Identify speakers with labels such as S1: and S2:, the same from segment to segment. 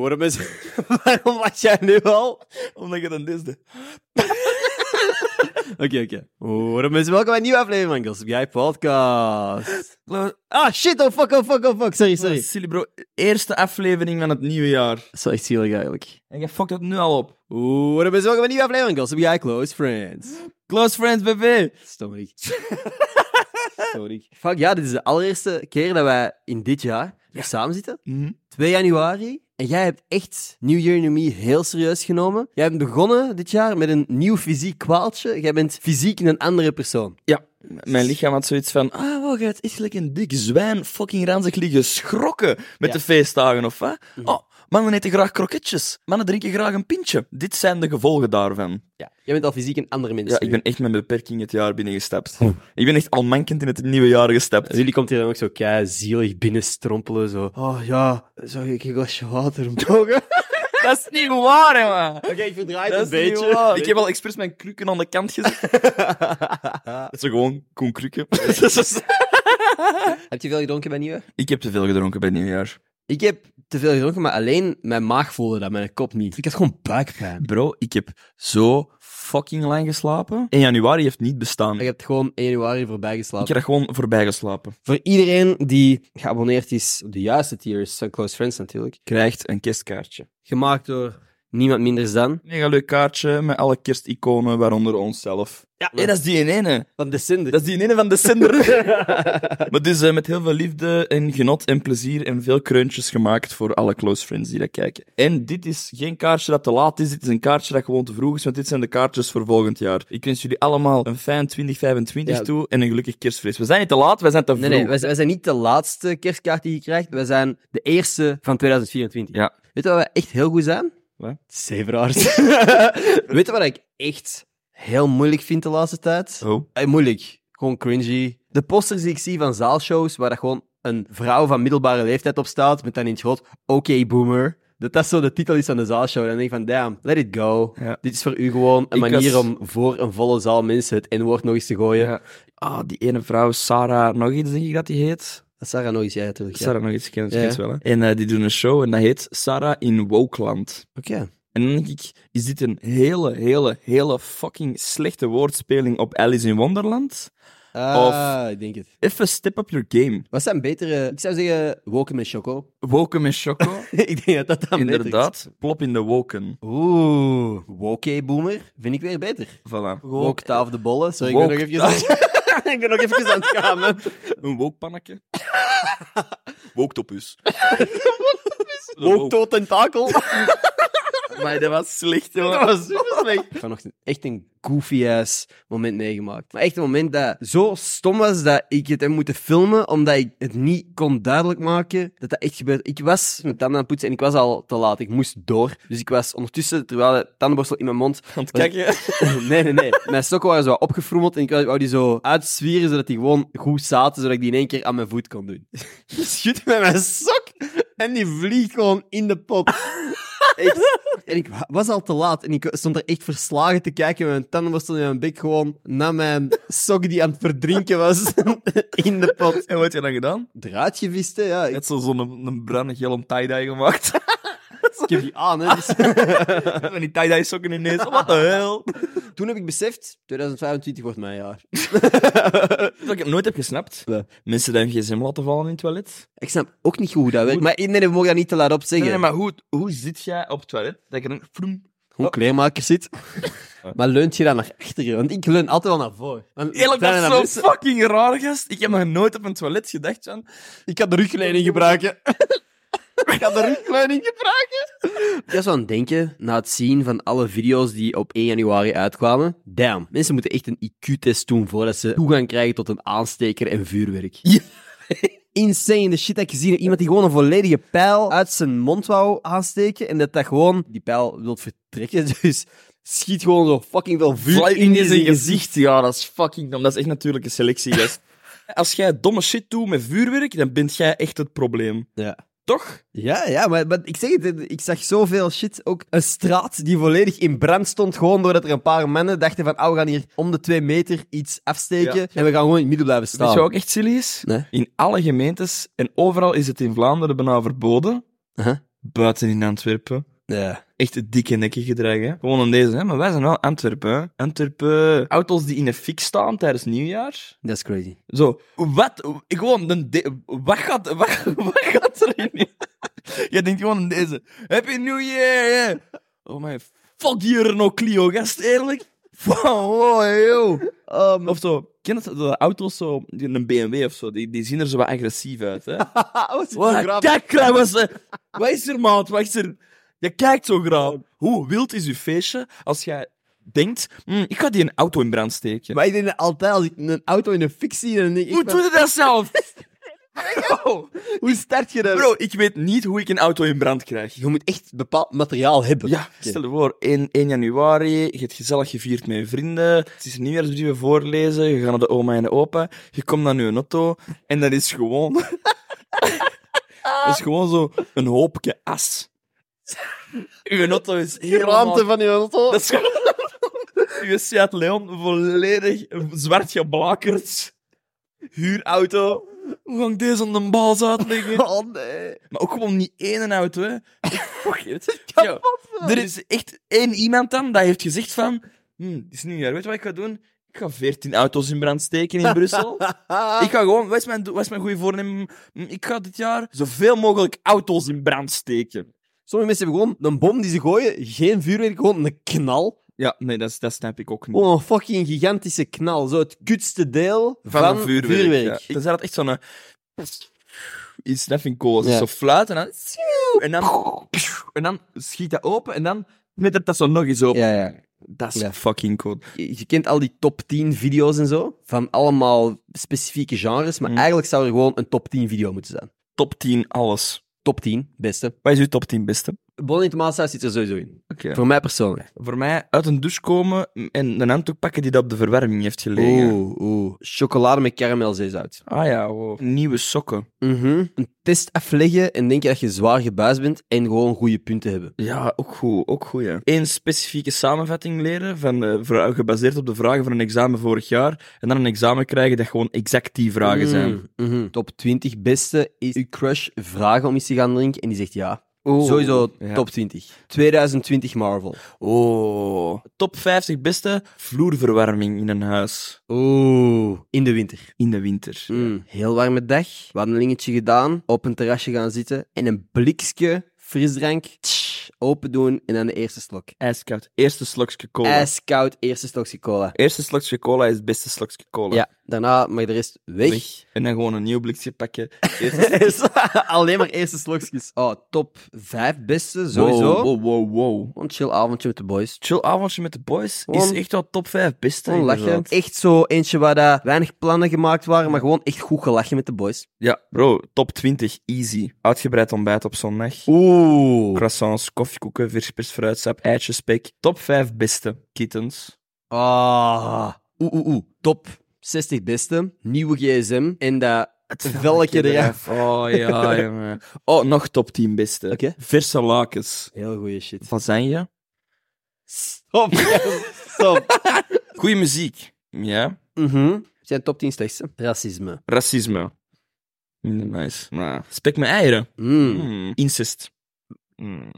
S1: Waarom, is, waarom was jij nu al?
S2: Omdat je dan disde.
S1: Oké, oké. Waarom is welkom bij een nieuwe aflevering van Gossip Guy Podcast. Ah, shit, oh fuck, oh fuck, oh fuck. Sorry, sorry.
S2: Silly bro, eerste aflevering van het nieuwe jaar.
S1: Dat is wel echt zielig eigenlijk.
S2: En jij fuckt het nu al op.
S1: Waarom is welkom bij een nieuwe aflevering van Gossip Guy Close Friends.
S2: Close friends, BV.
S1: Sorry. sorry. Fuck, ja, dit is de allereerste keer dat wij in dit jaar nog samen zitten.
S2: Mhm.
S1: 2 januari. En jij hebt echt New Year New Me heel serieus genomen. Jij hebt begonnen dit jaar met een nieuw fysiek kwaaltje. Jij bent fysiek een andere persoon.
S2: Ja. M- Mijn lichaam had zoiets van, ah, wow, jij hebt echt gelijk een dik zwijn fucking ranzig liggen schrokken met
S1: Ja.
S2: de feestdagen, of wat? Oh, mannen eten graag kroketjes. Mannen drinken graag een pintje. Dit zijn de gevolgen daarvan.
S1: Ja. Jij bent al fysiek een andere mens.
S2: Ja, ik ben echt met mijn beperking het jaar binnengestapt. Ik ben echt al mankend in het nieuwe jaar gestapt.
S1: Jullie komt hier dan ook zo kei zielig binnenstrompelen. Zo. Oh ja, zou ik een glasje water mogen?
S2: Dat is niet waar, hè, man.
S1: Oké, ik verdraai
S2: Dat is niet waar. Ik heb al expres mijn krukken aan de kant gezet. Dat is gewoon Koen Krukken.
S1: Heb je veel gedronken bij Nieuwe?
S2: ik heb te veel gedronken bij nieuwjaar.
S1: Ik heb te veel gedronken, maar alleen mijn maag voelde dat, mijn kop niet. Ik had gewoon buikpijn.
S2: Bro, ik heb zo fucking lang geslapen. 1 januari heeft niet bestaan.
S1: Ik heb gewoon 1 januari voorbij geslapen.
S2: Ik heb er gewoon voorbij geslapen.
S1: Voor iedereen die geabonneerd is op de juiste tiers van Close Friends natuurlijk.
S2: Krijgt een kerstkaartje.
S1: Gemaakt door niemand minder dan...
S2: Mega leuk kaartje met alle kersticonen, waaronder onszelf. Ja, hé, dat is die ene.
S1: Van de Cinder.
S2: Dat is die ene van december. maar dus eh, met heel veel liefde en genot en plezier en veel kreuntjes gemaakt voor alle close friends die dat kijken. En dit is geen kaartje dat te laat is, dit is een kaartje dat gewoon te vroeg is, want dit zijn de kaartjes voor volgend jaar. Ik wens jullie allemaal een fijn 2025
S1: Ja.
S2: toe en een gelukkig kerstfeest. We zijn niet te laat, wij zijn te vroeg.
S1: Nee, nee, wij, wij zijn niet de laatste kerstkaart die je krijgt. Wij zijn de eerste van 2024.
S2: Ja.
S1: Weet je waar we echt heel goed zijn?
S2: Wat?
S1: Zeveraars. Weet je wat ik echt heel moeilijk vind de laatste tijd?
S2: Oh.
S1: Eh, moeilijk. Gewoon cringy. De posters die ik zie van zaalshows, waar dat gewoon een vrouw van middelbare leeftijd op staat, met dan in het groot, oké boomer. Dat dat zo de titel is van de zaalshow. Dan denk ik van, damn, let it go.
S2: Ja.
S1: Dit is voor u gewoon een
S2: Ik was-
S1: manier om voor een volle zaal mensen het N-woord nog eens te gooien.
S2: Ja. Ah, die ene vrouw, Sarah, nog iets denk ik dat die heet.
S1: Dat is Sarah nog eens, jij natuurlijk. ja.
S2: Sarah nog iets, ik ken het
S1: Ja.
S2: ik ken het wel. Hè. En eh, die doen een show en dat heet Sarah in Wokeland.
S1: Oké.
S2: En dan denk ik, is dit een hele, hele, hele fucking slechte woordspeling op Alice in Wonderland?
S1: Ah, ik denk het.
S2: Even step up your game.
S1: Wat zijn betere... Ik zou zeggen Woken met Choco.
S2: Woken met choco.
S1: ik denk dat dat dan beter is.
S2: Inderdaad, plop in de woken.
S1: Oeh, woke boomer vind ik weer beter.
S2: Voilà.
S1: Woke taaf de bollen. Sorry,
S2: Woke
S1: ik ben nog even... aan- ik ben nog even aan het gaan, man.
S2: Een wokpannetje. Woktopus.
S1: Woke tot tentakel.
S2: Maar dat was slecht,
S1: Dat
S2: jongen.
S1: was super slecht. Vanochtend echt een goofy-ass moment meegemaakt. Maar echt een moment dat zo stom was dat ik het heb moeten filmen, omdat ik het niet kon duidelijk maken dat dat echt gebeurde. Ik was met tanden aan het poetsen en ik was al te laat. Ik moest door. Dus ik was ondertussen, terwijl de tandenborstel in mijn mond...
S2: Want kijk, hè.
S1: nee, nee, nee. Mijn sokken waren zo wat opgefrommeld en ik wou wou die zo uitzwieren, zodat die gewoon goed zaten, zodat ik die in één keer aan mijn voet kon doen. Je schudt met mijn sok en die vliegt gewoon in de pot. Echt. En ik wa- was al te laat en ik stond er echt verslagen te kijken met mijn tandenborstel in mijn bek gewoon naar mijn sok die aan het verdrinken was in de pot.
S2: En wat heb je dan gedaan?
S1: Eruit gevist, hè, ja. Ik,
S2: Net zo'n een, een bruine geel om tie-dye gemaakt.
S1: ik heb die aan, hè. Dus-
S2: Met die tie-dye sokken ineens. Wat de hel?
S1: Toen heb ik beseft, 2025 wordt mijn jaar.
S2: Wat ik nooit heb gesnapt.
S1: Wat?
S2: Mensen die hun gsm laten vallen in het toilet.
S1: Ik snap ook niet goed hoe dat werkt, maar nee, nee, we mogen dat niet te laat op zeggen.
S2: Nee, nee, maar hoe, hoe zit jij op het toilet? Dat je dan... vroom,
S1: Gewoon kleermaker zit. Maar leunt je dan naar achteren? Want ik leun altijd wel naar voren. Want
S2: Eerlijk,
S1: ik
S2: dat
S1: ben naar
S2: is
S1: mensen-
S2: zo fucking raar, gast. Ik heb nog nooit op een toilet gedacht van... Ik ga de rugleuning gebruiken. ik ga de rugleuning gebruiken.
S1: Ik was aan het denken, na het zien van alle video's die op 1 januari uitkwamen. Damn, mensen moeten echt een IQ-test doen voordat ze toegang krijgen tot een aansteker en vuurwerk.
S2: Ja.
S1: Insane, de shit dat ik gezien heb. Iemand die gewoon een volledige pijl uit zijn mond wou aansteken. En dat dat gewoon die pijl wil vertrekken. Dus schiet gewoon zo fucking veel vuur
S2: Vlak
S1: in,
S2: in zijn
S1: zijn
S2: gezicht. Ja, dat is fucking dom. Dat is echt natuurlijke selectie, gast. Als jij domme shit doet met vuurwerk, dan bent jij echt het probleem.
S1: Ja.
S2: Toch?
S1: Ja, ja, maar, maar ik zeg het, ik zag zoveel shit. Ook een straat die volledig in brand stond, gewoon doordat er een paar mannen dachten van, oh, we gaan hier om de twee meter iets afsteken
S2: Ja.
S1: en we gaan gewoon in het midden blijven
S2: Weet
S1: staan.
S2: je wat ook echt silly is?
S1: Nee.
S2: In alle gemeentes en overal is het in Vlaanderen bijna verboden.
S1: Uh-huh.
S2: buiten in Antwerpen.
S1: Ja.
S2: Echt het dikke nekje gedrag, hè. Gewoon aan deze, hè. Maar wij zijn wel Antwerpen, hè. Antwerpen... Auto's die in een fik staan tijdens nieuwjaar.
S1: Dat is crazy.
S2: Zo, wat? Gewoon, een de- wat, gaat, wat, wat gaat er in? Je denkt gewoon aan deze. Happy New Year! hè. Oh my, fuck die Renault Clio, gast, eerlijk. Wow, wow, joh.
S1: Oh,
S2: of zo, ken je dat, de auto's zo, die- een BMW of zo, die, die zien er zo wat agressief uit, hè?
S1: wat
S2: Wat, kijk, kraai, wat, is er- wat is er, maat? Wat is er? Je kijkt zo graag. Hoe wild is je feestje als jij denkt, "Hm, ik ga die een auto in brand steken?
S1: Maar ik denk dat altijd als ik een auto in een fik zie, dan denk ik...
S2: Hoe
S1: van,
S2: doe je dat zelf? Bro,
S1: hoe start je dat?
S2: bro, ik weet niet hoe ik een auto in brand krijg.
S1: Je moet echt bepaald materiaal hebben.
S2: Ja, stel je voor, 1, 1 januari, je hebt gezellig gevierd met je vrienden, het is nieuwjaarsbrieven voorlezen, je gaat naar de oma en de opa, je komt naar je auto, en dat is gewoon... dat is gewoon zo een hoopje as. Uw auto is
S1: De ruimte
S2: helemaal...
S1: van je auto.
S2: Dat is gewoon... Uw Seat Leon, volledig zwart geblakerd. Huurauto. Hoe ga ik deze aan de baas uitleggen?
S1: Oh nee.
S2: Maar ook gewoon niet één auto, hè. Fuck it. Yo, er is echt één iemand dan dat heeft gezegd van... "Hmm, het is nieuwjaar, weet je wat ik ga doen? Ik ga veertien auto's in brand steken in Brussel.
S1: Ah.
S2: ik ga gewoon... Wat is mijn, wat is mijn goede voornemen? Hmm, Ik ga dit jaar zoveel mogelijk auto's in brand steken.
S1: Sommige mensen hebben gewoon een bom die ze gooien, geen vuurwerk, gewoon een knal.
S2: Ja, nee, dat, is- dat snap ik ook niet.
S1: Gewoon een fucking gigantische knal. Zo het kutste deel Oh, van,
S2: een
S1: vuurwerk.
S2: ja. Ik- Dan zou dat echt zo'n... eh, Iets, dat vind ik cool. Als het
S1: Ja.
S2: Zo fluiten en dan... En dan, en dan schiet dat open en dan... Met dat zo nog eens open.
S1: Ja, ja.
S2: Dat is
S1: Ja.
S2: fucking cool.
S1: Je je kent al die top 10 video's en zo, van allemaal specifieke genres, maar
S2: Mm.
S1: eigenlijk zou er gewoon een top 10 video moeten zijn.
S2: Top 10 alles.
S1: Top 10, beste.
S2: Wat is uw top 10 beste?
S1: Bonnie tomaatsaus zit er sowieso in.
S2: Oké.
S1: Voor mij persoonlijk.
S2: Voor mij uit een douche komen en een handdoek pakken die dat op de verwarming heeft gelegen.
S1: Oeh, oeh. Chocolade met karamelzeezout.
S2: Ah ja, wow. Nieuwe sokken.
S1: Mhm. Een test afleggen en denken dat je zwaar gebuisd bent en gewoon goede punten hebben.
S2: Ja, ook goed, ook goed, ja. Eén specifieke samenvatting leren, van, eh, vra- gebaseerd op de vragen van een examen vorig jaar, en dan een examen krijgen dat gewoon exact die vragen zijn.
S1: Mm, mhm. Top 20 beste is uw crush vragen om iets te gaan drinken en die zegt ja.
S2: Oeh.
S1: Sowieso
S2: Ja.
S1: top 20. 2020 Marvel.
S2: Oh. Top 50 beste vloerverwarming in een huis.
S1: Oeh. In de winter.
S2: In de winter.
S1: Mm. Heel warme dag. We hadden een dingetje gedaan. Op een terrasje gaan zitten. En een blikje frisdrank. tsch, open doen en dan de eerste slok.
S2: Ijskoud. Eerste slokje cola.
S1: Ijskoud, eerste slokje cola.
S2: Eerste slokje cola is het beste slokje cola.
S1: Ja, daarna mag de rest weg. Dus,
S2: Weg. En dan gewoon een nieuw blikje pakken. Eerste
S1: Alleen maar eerste slokjes. Oh, top 5 beste, sowieso.
S2: Wow, wow, wow, wow.
S1: Een chill avondje met de boys.
S2: Chill avondje met de boys
S1: Gewoon-
S2: is echt wel top 5 beste.
S1: Gewoon lachen.
S2: inderdaad.
S1: Echt zo eentje waar dat weinig plannen gemaakt waren, maar gewoon echt goed gelachen met de boys.
S2: Ja, bro, top 20, easy. Uitgebreid ontbijt op zondag.
S1: Oeh.
S2: Croissants, koffiekoeken, verspers fruitsap, eitjes, spek. Top 5 beste. Kittens.
S1: Ah. Oeh, oeh, oeh. Top 60 beste, nieuwe gsm en dat het velkje eraf.
S2: Oh ja, jongen. Oh, nog top 10 beste.
S1: Oké.
S2: Verse lakens.
S1: Heel goeie shit.
S2: Lasagne.
S1: Stop. Stop.
S2: Goeie muziek. Ja.
S1: Mhm. Zijn top 10 slechtste. Racisme.
S2: Racisme. Minder nice. Nou, spek met eieren.
S1: Mm.
S2: Mm. Incest. Mm.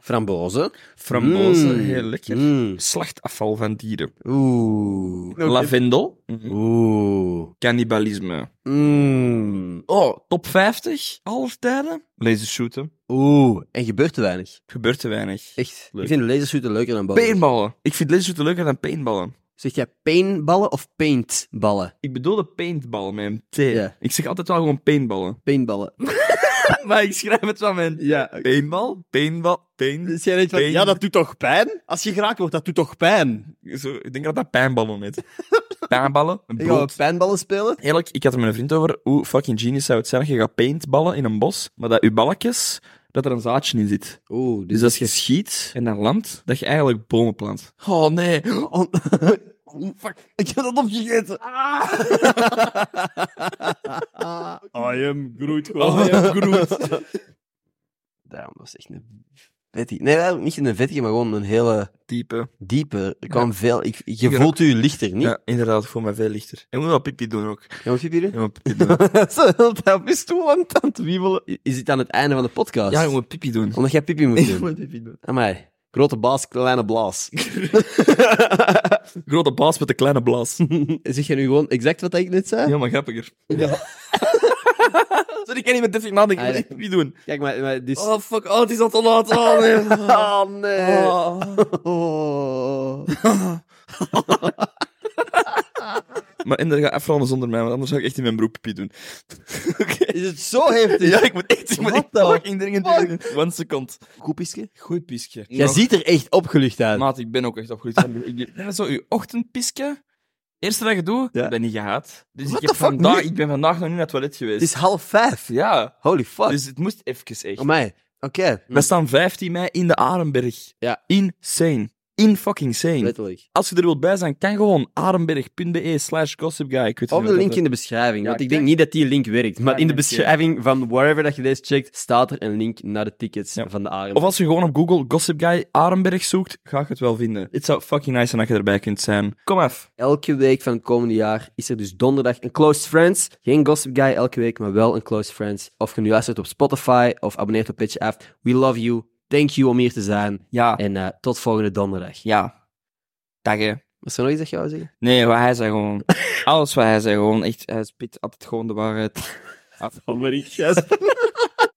S1: Frambozen.
S2: Frambozen,
S1: Mm.
S2: heel lekker.
S1: Mm.
S2: Slachtafval van dieren.
S1: Oeh.
S2: Lavendel.
S1: Oeh.
S2: Cannibalisme.
S1: Mm.
S2: Oh, top 50 aller tijden. Laser shooten.
S1: Oeh. En gebeurt te weinig.
S2: Gebeurt te weinig.
S1: Echt.
S2: Leuk.
S1: Ik vind lasershooten leuker dan ballen.
S2: Paintballen. Ik vind laser shooten leuker dan paintballen.
S1: Zeg jij paintballen of paintballen?
S2: Ik bedoelde paintball met een T.
S1: Ja.
S2: Ik zeg altijd wel gewoon paintballen.
S1: Paintballen.
S2: maar ik schrijf het wel met een
S1: Ja.
S2: paintball, paintball, paint.
S1: Dus jij denkt van,
S2: Pain-
S1: ja, dat doet toch pijn? Als je geraakt wordt, dat doet toch pijn?
S2: Zo, ik denk dat dat pijnballen heet. Pijnballen, een
S1: Ik ga
S2: brood.
S1: pijnballen spelen.
S2: Eerlijk, ik had er met een vriend over hoe fucking genius zou het zijn dat je gaat paintballen in een bos, maar dat je balkjes, dat er een zaadje in zit.
S1: Oeh,
S2: Dus als je schiet en dan landt, dat je eigenlijk bomen plant. Oh nee.
S1: oh, fuck. Ik heb dat opgegeten.
S2: I am Groot.
S1: gewoon.
S2: Groot.
S1: Daarom was echt een vettige. Nee, eigenlijk niet een vettige, maar gewoon een hele
S2: Type.
S1: diepe. Er kwam veel... Ik, je
S2: Ik
S1: voelt u lichter, niet? Ja.
S2: Ja, inderdaad, ik voel me veel lichter. En moet wel pipi doen ook.
S1: wat heb je hier?
S2: Ja, maar pipi doen.
S1: Ze wil daar op je stoel aan het- aan het wiebelen. Is dit aan het einde van de podcast?
S2: ja, ik moet pipi doen.
S1: Omdat jij pipi moet
S2: Ik
S1: doen.
S2: moet pipi doen.
S1: Amai. Grote baas, kleine blaas.
S2: Grote baas met een kleine blaas.
S1: zeg je nu gewoon exact wat ik net zei?
S2: Ja, maar grappiger.
S1: Ja.
S2: Sorry, ik kan niet met Duffy nadenken. Ik
S1: Ah, ja.
S2: moet echt pipi doen.
S1: Kijk, maar, maar dus...
S2: Oh, fuck. Oh, het is al te laat. Oh, nee.
S1: Ah, nee.
S2: Oh.
S1: Oh.
S2: Maar en dat gaat afronden zonder mij, want anders zou ik echt in mijn broek pipi doen. Oké.
S1: Is het zo heftig?
S2: Ja, ik moet echt, ik moet
S1: What
S2: echt
S1: the
S2: fucking dringend
S1: fuck?
S2: pipi doen. One second.
S1: Goed pisken?
S2: Goed piskje.
S1: Jij ziet er echt opgelucht uit.
S2: Maat, ik ben ook echt opgegroeid. Ik ben- ja, zo, uw ochtendpiske. Eerste dat je doet,
S1: Ja.
S2: ik ben niet gehaat. Dus
S1: What
S2: ik,
S1: the
S2: heb
S1: fuck,
S2: vandaag,
S1: niet?
S2: ik ben vandaag nog niet naar het toilet geweest.
S1: het is half vijf.
S2: Ja,
S1: Holy fuck.
S2: dus het moest even echt.
S1: Amai. Oké.
S2: We staan 15 mei in de Arenberg.
S1: Ja.
S2: Insane. In fucking sane.
S1: Letterlijk.
S2: Als je er wilt bij zijn, kan gewoon arenberg.be slash gossipguy. Ik weet
S1: Op
S2: het niet
S1: de
S2: wat
S1: link
S2: dat-
S1: in de beschrijving,
S2: Ja,
S1: want ik
S2: kijk.
S1: denk niet dat die link werkt. Maar
S2: Ja,
S1: in de
S2: nee, oké.
S1: beschrijving van wherever dat je deze checkt, staat er een link naar de tickets
S2: Ja.
S1: van de Arend.
S2: Of als je gewoon op Google Gossip Guy Arenberg zoekt, ga ik het wel vinden. Het zou fucking nice zijn dat je erbij kunt zijn. Kom af.
S1: Elke week van het komende jaar is er dus donderdag een Close Friends. Geen Gossip Guy elke week, maar wel een Close Friends. Of je nu luistert op Spotify of abonneert op Pitch Af. We love you. Thank you om hier te zijn.
S2: Ja.
S1: En eh, tot volgende donderdag.
S2: Ja. Dag hè.
S1: Was er nog iets dat je wou zeggen?
S2: Nee, wat hij zei gewoon. Alles wat hij zei gewoon. Echt, hij spit altijd gewoon de waarheid.
S1: Van Marie Gijs.